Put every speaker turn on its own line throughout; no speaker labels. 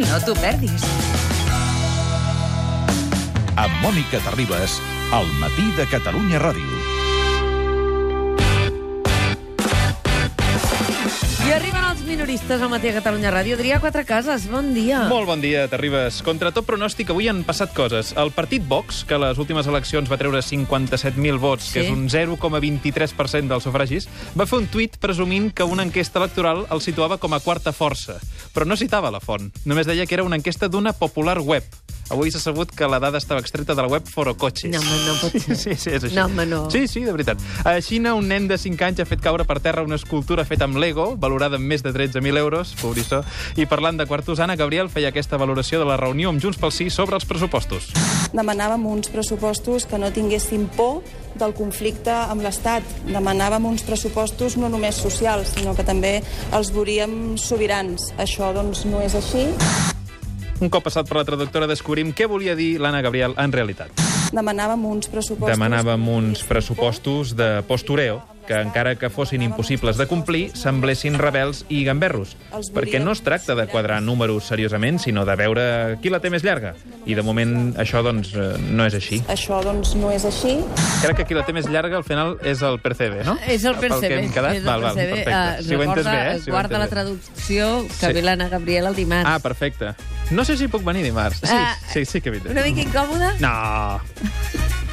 No t'ho perdis.
Amb Mònica Terribas, al matí de Catalunya Ràdio.
I arriben els minoristes al matí a Catalunya Ràdio. Adrià Quatre Cases, bon dia.
Molt bon dia, Terribas. Contra tot pronòstic, avui han passat coses. El partit Vox, que a les últimes eleccions va treure 57.000 vots,
Sí.
que és un 0,23% dels sufragis, va fer un tuit presumint que una enquesta electoral el situava com a quarta força. Però no citava la font. Només deia que era una enquesta d'una popular web. Avui s'ha sabut que la dada estava extreta de la web Forocoches.
No, home, no pot ser.
Sí, sí, és així.
No, home, no.
Sí, sí, de veritat. A Xina, un nen de 5 anys ha fet caure per terra una escultura feta amb Lego, valorada amb més de 13.000 euros, pobrissó, i parlant de quartos, Anna Gabriel feia aquesta valoració de la reunió amb Junts pel Sí sobre els pressupostos.
Demanàvem uns pressupostos que no tinguessin por del conflicte amb l'Estat. Demanàvem uns pressupostos no només socials, sinó que també els volíem sobirans. Això doncs, no és així.
Un cop passat per la traductora descobrim què volia dir l'Anna Gabriel en realitat.
Demanàvem uns pressupostos...
Demanàvem uns pressupostos de postureo que, encara que fossin impossibles de complir, semblessin rebels i gamberros. Perquè no es tracta de quadrar números seriosament, sinó de veure qui la té més llarga. I, de moment, això, doncs, eh, no és així.
Això doncs, no és així.
Crec que qui la té més llarga al final és el Percebe, no?
És el
Pel que
Percebe.
hem quedat?
És el
val, val,
Percebe.
perfecte.
Ah,
si ho he entès
recorda,
bé, eh? Si ho he
guarda la
entès bé.
traducció que
Sí.
ve l'Anna Gabriel el dimarts.
Ah, perfecte. No sé si puc venir dimarts. Sí,
Ah,
sí, sí que vindré.
Una mica incòmoda?
No,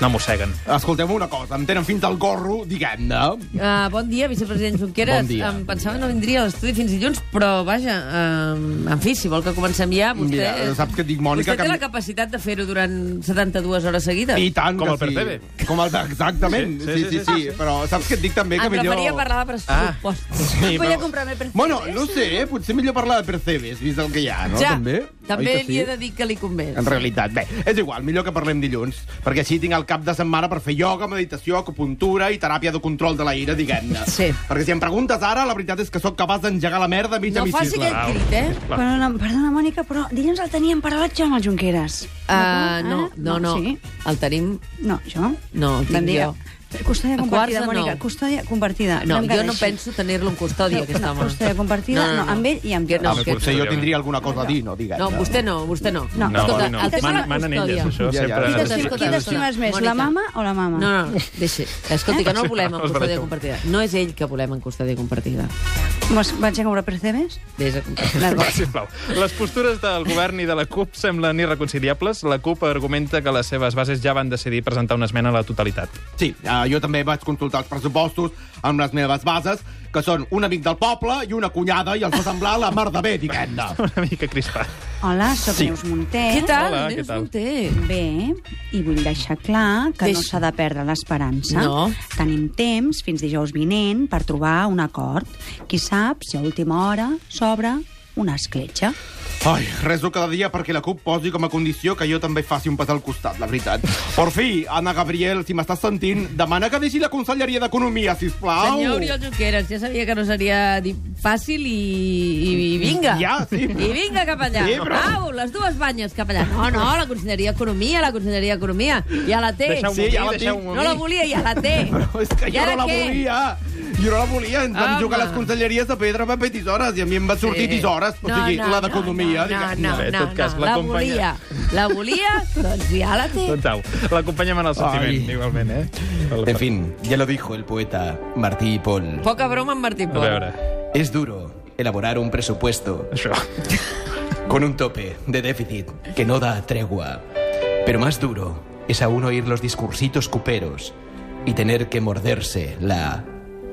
no mosseguen.
Escolteu una cosa, em tenen fins al gorro, diguem-ne.
Ah, bon dia, vicepresident Junqueras.
Bon dia.
Em pensava que no vindria a l'estudi fins dilluns, però vaja, um, en fi, si vol que comencem ja, vostè...
Mira, saps què et dic, Mònica,
Vostè té
que-
la capacitat de fer-ho durant 72 hores seguides.
I tant
Com
que
el Percebe.
Sí. Com el, exactament.
Sí, sí, sí, sí, sí.
Però saps què et dic també?
Em
que millor...
preferia parlar de pressupostos. Ah, sí,
però-
comprar-me per
Bueno, no sé, eh? potser millor parlar de Percebes, vist el que hi ha, no?
ja,
també
també
Oi que
li he de dir que li convé.
En realitat, bé, és igual, millor que parlem dilluns, perquè així tinc el cap de setmana per fer ioga, meditació, acupuntura i teràpia de control de la ira, diguem-ne.
Sí.
Perquè si em preguntes ara, la veritat és que sóc capaç d'engegar la merda a mitja
No faci
micicla.
aquest crit, eh?
Perdona, perdona, Mònica, però dilluns el teníem parlat jo amb el Junqueras.
Ah,
D'acord,
no,
Anna?
no, no.
Sí?
El tenim...
No, jo?
No, el tinc
Bon dia.
jo.
Custòdia
A
compartida,
quarts de
Mònica.
nou.
Custòdia compartida.
No,
Anem
jo
cada
no
així.
penso tenir-lo en custòdia,
No,
aquest
no,
home.
custòdia compartida, no, amb ell i amb
Que
tu.
No,
Home,
que-
potser jo tindria alguna cosa a dir, no? Diguem-ne.
no, vostè no, vostè no.
No.
No,
Escolta,
no, no.
el tema de la
Man, manen
custòdia.
elles, això.
Ja, ja.
Sempre...
Qui
Escolta,
t'estimes-
escolta,
qui t'estimes
escolta.
més,
Mònica.
la mama o la mama?
No, no, deixi. Escolti, que no el volem en
Us
custòdia
barregeu.
compartida. No és ell que volem en custòdia compartida.
Vas- Vaig a comprar percebes?
Vés a compartida.
Va, sisplau. Les postures del govern i de la CUP semblen irreconciliables. La CUP argumenta que les seves bases ja van decidir presentar una esmena a la totalitat.
Sí, eh, jo també vaig consultar els pressupostos amb les meves bases, que són un amic del poble i una cunyada, i els va semblar la mar de bé, diguem-ne.
Una mica crispat.
Hola, sóc
Sí.
Neus Munté.
Què tal?
Hola,
Neus
què tal?
Munté?
Bé, i vull deixar clar que no
Deix-
s'ha de perdre l'esperança.
No.
Tenim temps fins dijous vinent per trobar un acord. Qui sap si a última hora s'obre una escletxa.
Ai, reso cada dia perquè la CUP posi com a condició que jo també faci un pas al costat, la veritat. Por fi, Anna Gabriel, si m'estàs sentint, demana que deixi la Conselleria d'Economia, sisplau.
Senyor Oriol Junqueras, ja sabia que no seria di- fàcil i, i, i vinga.
Ja, sí.
I vinga cap allà.
Sí, però-
Au, les dues banyes cap allà. No, no, la Conselleria d'Economia, la Conselleria d'Economia. Ja la té.
Deixeu-m'ho
Sí,
dir,
ja la tinc.
deixeu-m'ho
No la
dir.
volia, ja la té.
Però és que
I
jo
ara
no la
què?
volia. Jo no la volia. Ens vam
Home.
jugar a les conselleries de pedra, paper, tisores, i a mi em va sortir
Sí.
tisores, o sigui, la d'economia.
No, no,
diguem-ne.
no, no,
Bé, en
no,
tot cas,
no,
la
la,
companya-
volia. La volia, doncs ja la té.
Doncs au, l'acompanyem en el sentiment,
Ai.
igualment, eh?
En fin, ya lo dijo el poeta Martí Pol.
Poca broma amb Martí
A
Pol.
veure,
Es duro elaborar un presupuesto
això.
con un tope de déficit que no da tregua. Pero más duro es aún oír los discursitos cuperos y tener que morderse la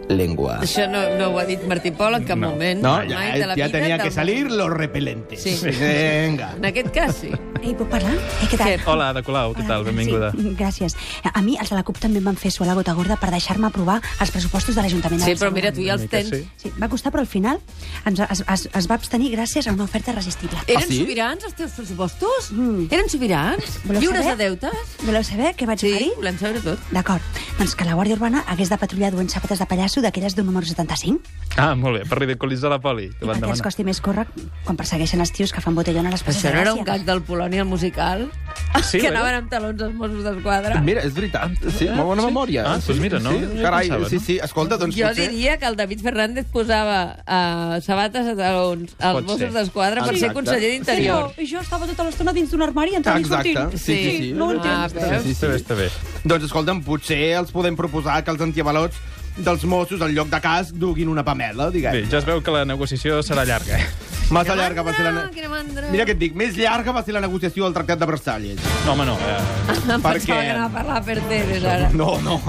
lengua.
Això no, no ho ha dit Martí Pol en cap
No.
moment.
No,
Mai
ya,
de la
ya
vida,
tenía
del
que salir los repelentes.
Sí.
Venga.
món. En aquest cas, sí.
Ei, puc parlar? Eh, què tal?
Què?
Hola, Ada Colau, què tal? Benvinguda.
Ah, Sí, gràcies. A mi els de la CUP també em van fer suar la gota gorda per deixar-me aprovar els pressupostos de l'Ajuntament de
Sí, però
Barcelona.
mira, tu ja els
Una
tens.
mica sí.
Sí, va costar, però al final ens, es, es, es va abstenir gràcies a una oferta irresistible.
Eren
Ah, sí?
sobirans els teus pressupostos?
Mm.
Eren sobirans?
Voleu
Lliures
saber?
de deutes?
Voleu saber què vaig
Sí,
oferir?
volem saber tot.
D'acord. Doncs que la Guàrdia Urbana hagués de patrullar duent sabates de pallasso d'aquelles d'un número 75
Ah, molt bé, per ridiculitzar la poli.
i perquè els costi més córrer quan persegueixen els tios que fan botellona a les passes
Això no
de
era
Gràcia.
un gag del Polònia al musical?
Sí,
que
bueno.
anaven amb talons els Mossos d'Esquadra.
Mira, és veritat. Sí, molt bona memòria.
Ah, doncs mira, no-
Sí,
no hi
carai,
pensava, no?
sí, sí. Escolta, doncs
Jo
potser...
diria que el David Fernández posava uh, sabates a talons als
Pot ser.
Mossos d'esquadra per ser
Exacte.
conseller d'Interior.
I jo estava tota l'estona dins d'un armari entrant
Exacte.
i sortint.
Sí, sí, sí.
No ho
Ah,
entenc.
veus?
Sí,
Està bé,
sí, sí.
està bé.
Doncs escolta'm, potser els podem proposar que els antiavalots dels Mossos, en lloc de casc, duguin una pamela,
Bé,
diguem.
ja es veu que la negociació serà llarga. eh?
Massa llarga va ser la... ne-
Quina mandra!
Mira què et dic, més llarga va ser la negociació del Tractat de Versalles.
No, home, no. Eh,
Em pensava
perquè-
que anava a parlar per Teres, ara.
No, no.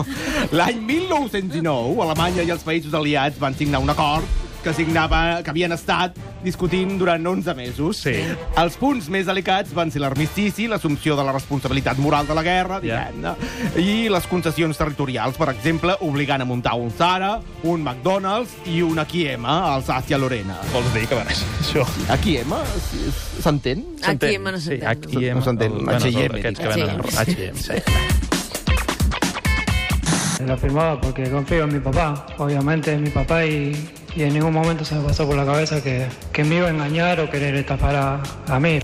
L'any 1909, Alemanya i els països aliats van signar un acord que signava, que havien estat discutint durant 11 mesos.
Sí.
Els punts més delicats van ser l'armistici, l'assumpció de la responsabilitat moral de la guerra,
Ja.
diguem-ne, i les concessions territorials, per exemple, obligant a muntar un Zara, un McDonald's i un H&M a Alsàcia Lorena.
vols dir que va néixer això?
H&M? Sí, S'entén?
Aquí
S'entén?
hem anat
Sí,
sentant.
aquí hem...
No s'entén,
el- bueno,
H&M,
Aquests que
dic.
van a... H&M, sí.
Lo firmaba porque confío en mi papá, obviamente en mi papá y, y en ningún momento se me pasó por la cabeza que, que me iba a engañar o querer estafar a, a mí.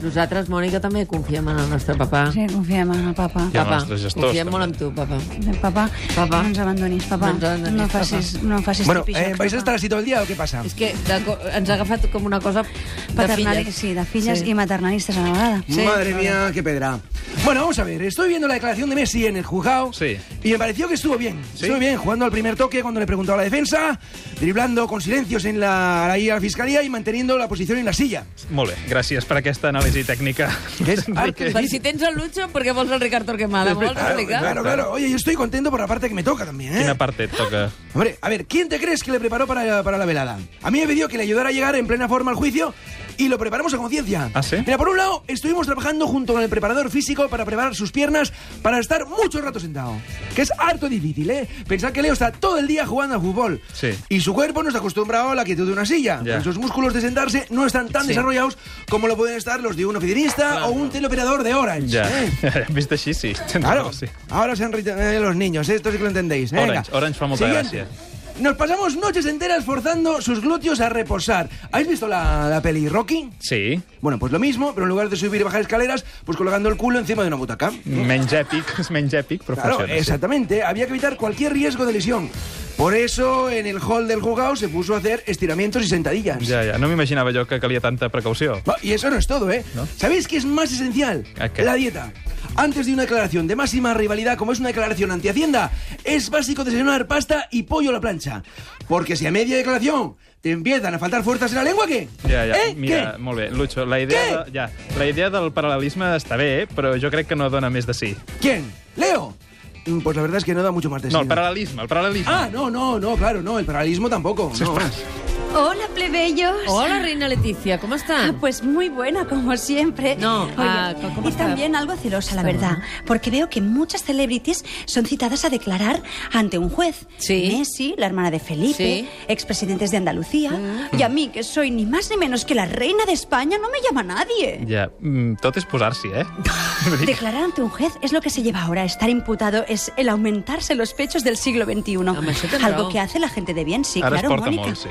Nosaltres, Mònica, també confiem en el nostre papà.
Sí, confiem en el papa.
I Ja. en els
Papà,
nostres gestors,
confiem
també.
molt en tu, papà.
Papà,
Papà.
no ens abandonis, papà.
No ens abandonis,
no facis,
papà.
No em facis
Bueno,
tripijocs,
eh, ¿vais a
papà.
estar así todo el día o qué pasa?
És que de, co- ens ha agafat com una cosa de
Paternali-
filles.
Sí, de filles sí. i maternalistes a la vegada.
Madre mía, qué pedra. Bueno, vamos a ver, estoy viendo la declaración de Messi en el juzgado
Sí.
y me pareció que estuvo bien.
¿Sí?
Estuvo bien, jugando al primer toque cuando le preguntó a la defensa, driblando con silencios en la, ahí a la fiscalía y manteniendo la posición en la silla.
Molt bé, gràcies per aquesta anàlisi tècnica.
Que es arte.
Per si tens el Lucho, per què vols el Ricard Torquemada? Vols explicar?
Claro, claro. Oye, yo estoy contento por la parte que me toca también, ¿eh?
Quina part et toca?
Hombre, a ver, ¿quién te crees que le preparó para, para la velada? A mí me pidió que le ayudara a llegar en plena forma al juicio y lo preparamos a conciencia.
¿Ah, sí?
Mira, por un lado, estuvimos trabajando junto con el preparador físico para preparar sus piernas para estar mucho rato sentado. Que es harto difícil, ¿eh? Pensar que Leo está todo el día jugando al fútbol.
Sí.
Y su cuerpo no está acostumbrado a la quietud de una silla.
Ya.
Pero Sus músculos de sentarse no están tan desarrollados como lo pueden estar los de un oficinista o un teleoperador de Orange.
Ja,
¿eh?
vist així, sí.
Claro.
Sí.
Ahora se han reído eh, los niños, ¿eh? esto sí que lo entendéis. ¿eh?
Orange, Orange fa molta
Siguiente.
gràcia.
Nos pasamos noches enteras forzando sus glúteos a reposar. ¿Habéis visto la, la peli Rocky?
Sí,
Bueno, pues lo mismo, pero en lugar de subir y bajar escaleras, pues colgando el culo encima de una butaca.
menys èpic, és menys èpic, però
Claro,
funciona. sí.
exactamente. Había que evitar cualquier riesgo de lesión. Por eso, en el hall del juzgado se puso a hacer estiramientos y sentadillas.
Ja, ja, no m'imaginava jo que calia tanta precaució.
Va, Y eso no es todo, ¿eh?
¿No?
¿Sabéis qué es más esencial?
¿A qué?
La dieta. Antes de una declaración de máxima rivalidad, como es una declaración anti Hacienda, es básico desayunar pasta y pollo a la plancha. Porque si a media declaración te empiezan a faltar fuerzas en la lengua, ¿qué?
Ja, ja,
¿Eh?
mira,
¿Qué?
molt bé, Lucho, la idea, de, ja, la idea del paral·lelisme està bé, eh, però jo crec que no dona més de sí.
¿Quién? ¿Leo? Mm, Pues la verdad es que no da mucho más de sí.
No, el paral·lelisme, el paral·lelismo.
Ah, no, no, no, claro, no, el paralismo tampoco. no.
Hola, plebeyos.
Hola, reina Leticia, com
Ah,
estás?
pues muy buena, como siempre.
No, ah, ¿cómo
y
está?
también algo celosa, la
Está
verdad, porque veo que muchas celebrities son citadas a declarar ante un juez.
Sí.
Messi, la hermana de Felipe,
Sí. Mm.
expresidentes de Andalucía, y a mí, que soy ni más ni menos que la reina de España, no me llama nadie.
Ja, mm, tot és posar-s'hi, eh? Vull dir,
Declarar ante un juez es lo que se lleva ahora. Estar imputado es el aumentarse los pechos del siglo XXI.
Home, això tens
Algo
raó.
que hace la gente de bien, sí,
Ara es
claro,
porta
Mónica.
molt, sí.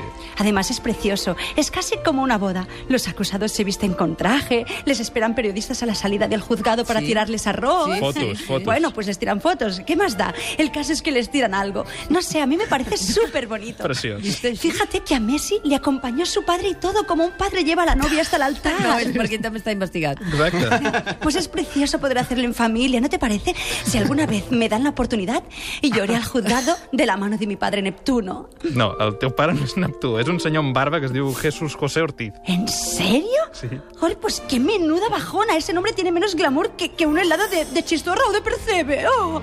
Además es precioso. Es casi como una boda. Los acusados se visten con traje, les esperan periodistas a la salida del juzgado para
Sí.
tirarles arroz.
Sí.
Fotos, fotos.
Bueno, pues les tiran fotos. ¿Qué más da? El caso es que les tiran algo. No sé, a mí me parece súper bonito.
Preciós.
Fíjate que a Messi le acompañó su padre y todo, como un padre lleva a la novia hasta el altar.
No, és perquè també està investigat.
Exacte.
Pues es precioso poder hacerlo en familia, ¿no te parece? Si alguna vez me dan la oportunidad y yo iré al juzgado de la mano de mi padre Neptuno.
No, el teu pare no és Neptú, és un senyor amb barba que es diu Jesús José Ortiz.
¿En serio?
Sí.
Joder, pues qué menuda bajona. Ese nombre tiene menos glamour que, que un helado de, de chistorra o de percebe. Oh.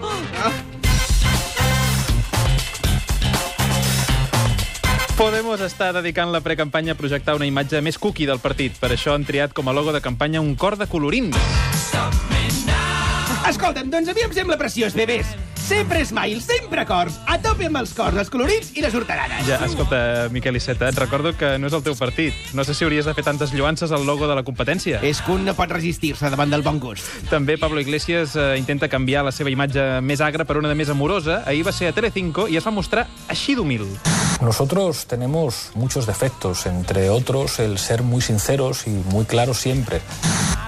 Podemos està dedicant la precampanya a projectar una imatge més cookie del partit. Per això han triat com a logo de campanya un cor de colorins.
Escolta'm, doncs a mi em sembla preciós, bebès. Sempre smile, sempre cors, a tope amb els cors, els colorits i les hortalanes.
Ja, escolta, Miquel Iceta, et recordo que no és el teu partit. No sé si hauries de fer tantes lluances al logo de la competència.
És que un no pot resistir-se davant del bon gust.
Eh, També Pablo Iglesias eh, intenta canviar la seva imatge més agra per una de més amorosa. Ahir va ser a Telecinco i es va mostrar així d'humil.
Nosotros tenemos muchos defectos, entre otros el ser muy sinceros y muy claros siempre.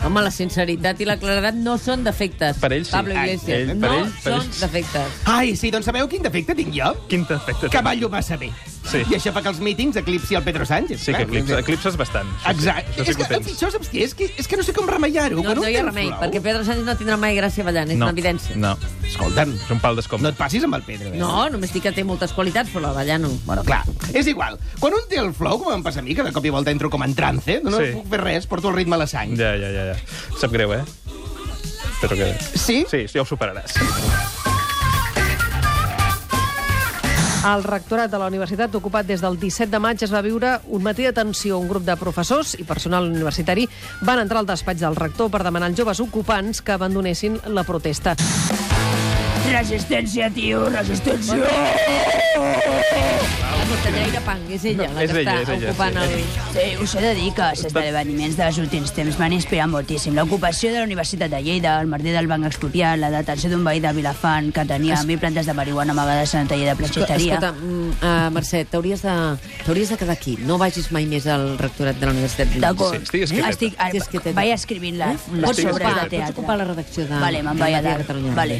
Home, la sinceritat i la claredat no són defectes.
Per ell sí.
Pablo
Ai,
Iglesias.
ell- per
no
ell- per
són
ell sí.
defectes.
Ai, sí, doncs sabeu quin defecte tinc jo?
Quin defecte.
Que ballo massa bé.
Sí.
I això fa que els mítings eclipsi el Pedro Sánchez.
Sí que
clar.
eclipses, eclipses bastant. Això sí, Això
Exacte.
sí
és,
que ho
que,
tens.
això, saps què? És que, és que no sé com remeiar-ho.
No,
quan
no
un
hi ha
té el
remei,
flow-
perquè Pedro Sánchez no tindrà mai gràcia ballant, és una evidència.
No.
Escolta'm,
És un pal d'escombra.
no et passis amb el Pedro. Eh?
No, només dic que té moltes qualitats, però la ballar no.
Bueno, clar, és igual. Quan un té el flow, com em passa a mi, que de cop i volta entro com en trance, no, no
Sí.
puc fer res, porto el ritme a la sang.
Ja, ja, ja, ja. Sap greu, eh? Però que...
Sí?
Sí, sí, ja ho superaràs.
Al rectorat de la universitat, ocupat des del 17 de maig, es va viure un matí de tensió. Un grup de professors i personal universitari van entrar al despatx del rector per demanar als joves ocupants que abandonessin la protesta.
Resistència, tio, resistència.
Callaire Pang, és ella
No,
la
és
que
ella, és
està
ella,
ocupant
sí.
el...
Sí, us he de dir que els esdeveniments dels últims temps m'han inspirat moltíssim. L'ocupació de la Universitat de Lleida, el merder del Banc Expropiat, la detenció d'un veí de Vilafant que tenia mil plantes de marihuana amagades en el taller de planxeteria.
Escolta, mm, uh, Mercè, t'hauries de, t'hauries de quedar aquí. No vagis mai més al rectorat de la Universitat de
D'acord.
Sí, estigues quieteta.
Estic, eh,
Estigues quieteta.
vaig escrivint la, la
Eh? Pots
Estigues
sobre
ocupar,
de
quieteta.
pots
teatre.
ocupar la redacció de...
Vale, me'n
de
vaig a
Ràdio
dalt.
Catalunya.
Vale.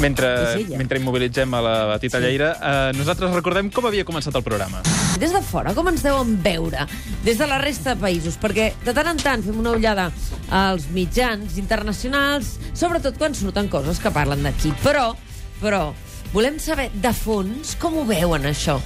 Mentre,
És ella.
mentre immobilitzem a la petita Lleira, eh, nosaltres recordem com havia començat el programa.
Des de fora, com ens deuen veure? Des de la resta de països, perquè de tant en tant fem una ullada als mitjans internacionals, sobretot quan surten coses que parlen d'aquí. Però, però, volem saber de fons com ho veuen, això.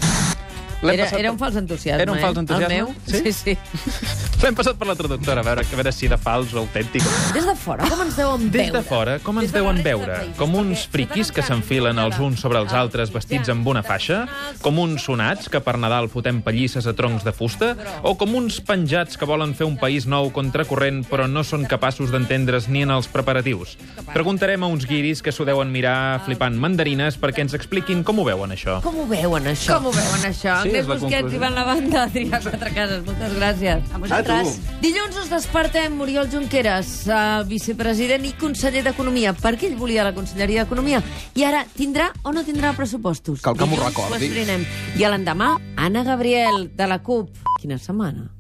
L'hem
Era,
passat
era
per-
un fals entusiasme,
Era un fals entusiasme?
Eh? El meu? sí.
Sí?
sí.
L'hem passat per la traductora, a veure, a veure si era fals o autèntic.
Des de fora, com ens deuen
Des
veure?
de fora, com ens
Des de la
deuen
resta de
veure?
països,
Com
perquè
uns
de
friquis
tant
que
en tant
s'enfilen els
surten
uns sobre els
als
altres vestits
mitjans
amb una faixa?
internacionals,
Com uns sonats que per Nadal fotem pallisses a troncs de fusta? O com uns penjats que volen fer un país nou contracorrent però no són capaços d'entendre's ni en els preparatius? Preguntarem a uns guiris que s'ho deuen mirar flipant mandarines perquè ens expliquin com ho veuen, això.
Com ho veuen, això? Com ho veuen, això?
Sí,
Agnès
és la
Busquets,
conclusió.
Ivan Lavanda, Adrià Quatre Cases. Moltes gràcies.
A
Ah, tu.
vosaltres...
Dilluns us despertem Oriol Junqueras, eh, vicepresident i conseller d'Economia, perquè ell volia la Conselleria d'Economia. I ara tindrà o no tindrà pressupostos?
Cal que m'ho
Dilluns
recordi.
esbrinem. I a l'endemà, Anna Gabriel, de la CUP. Quina setmana.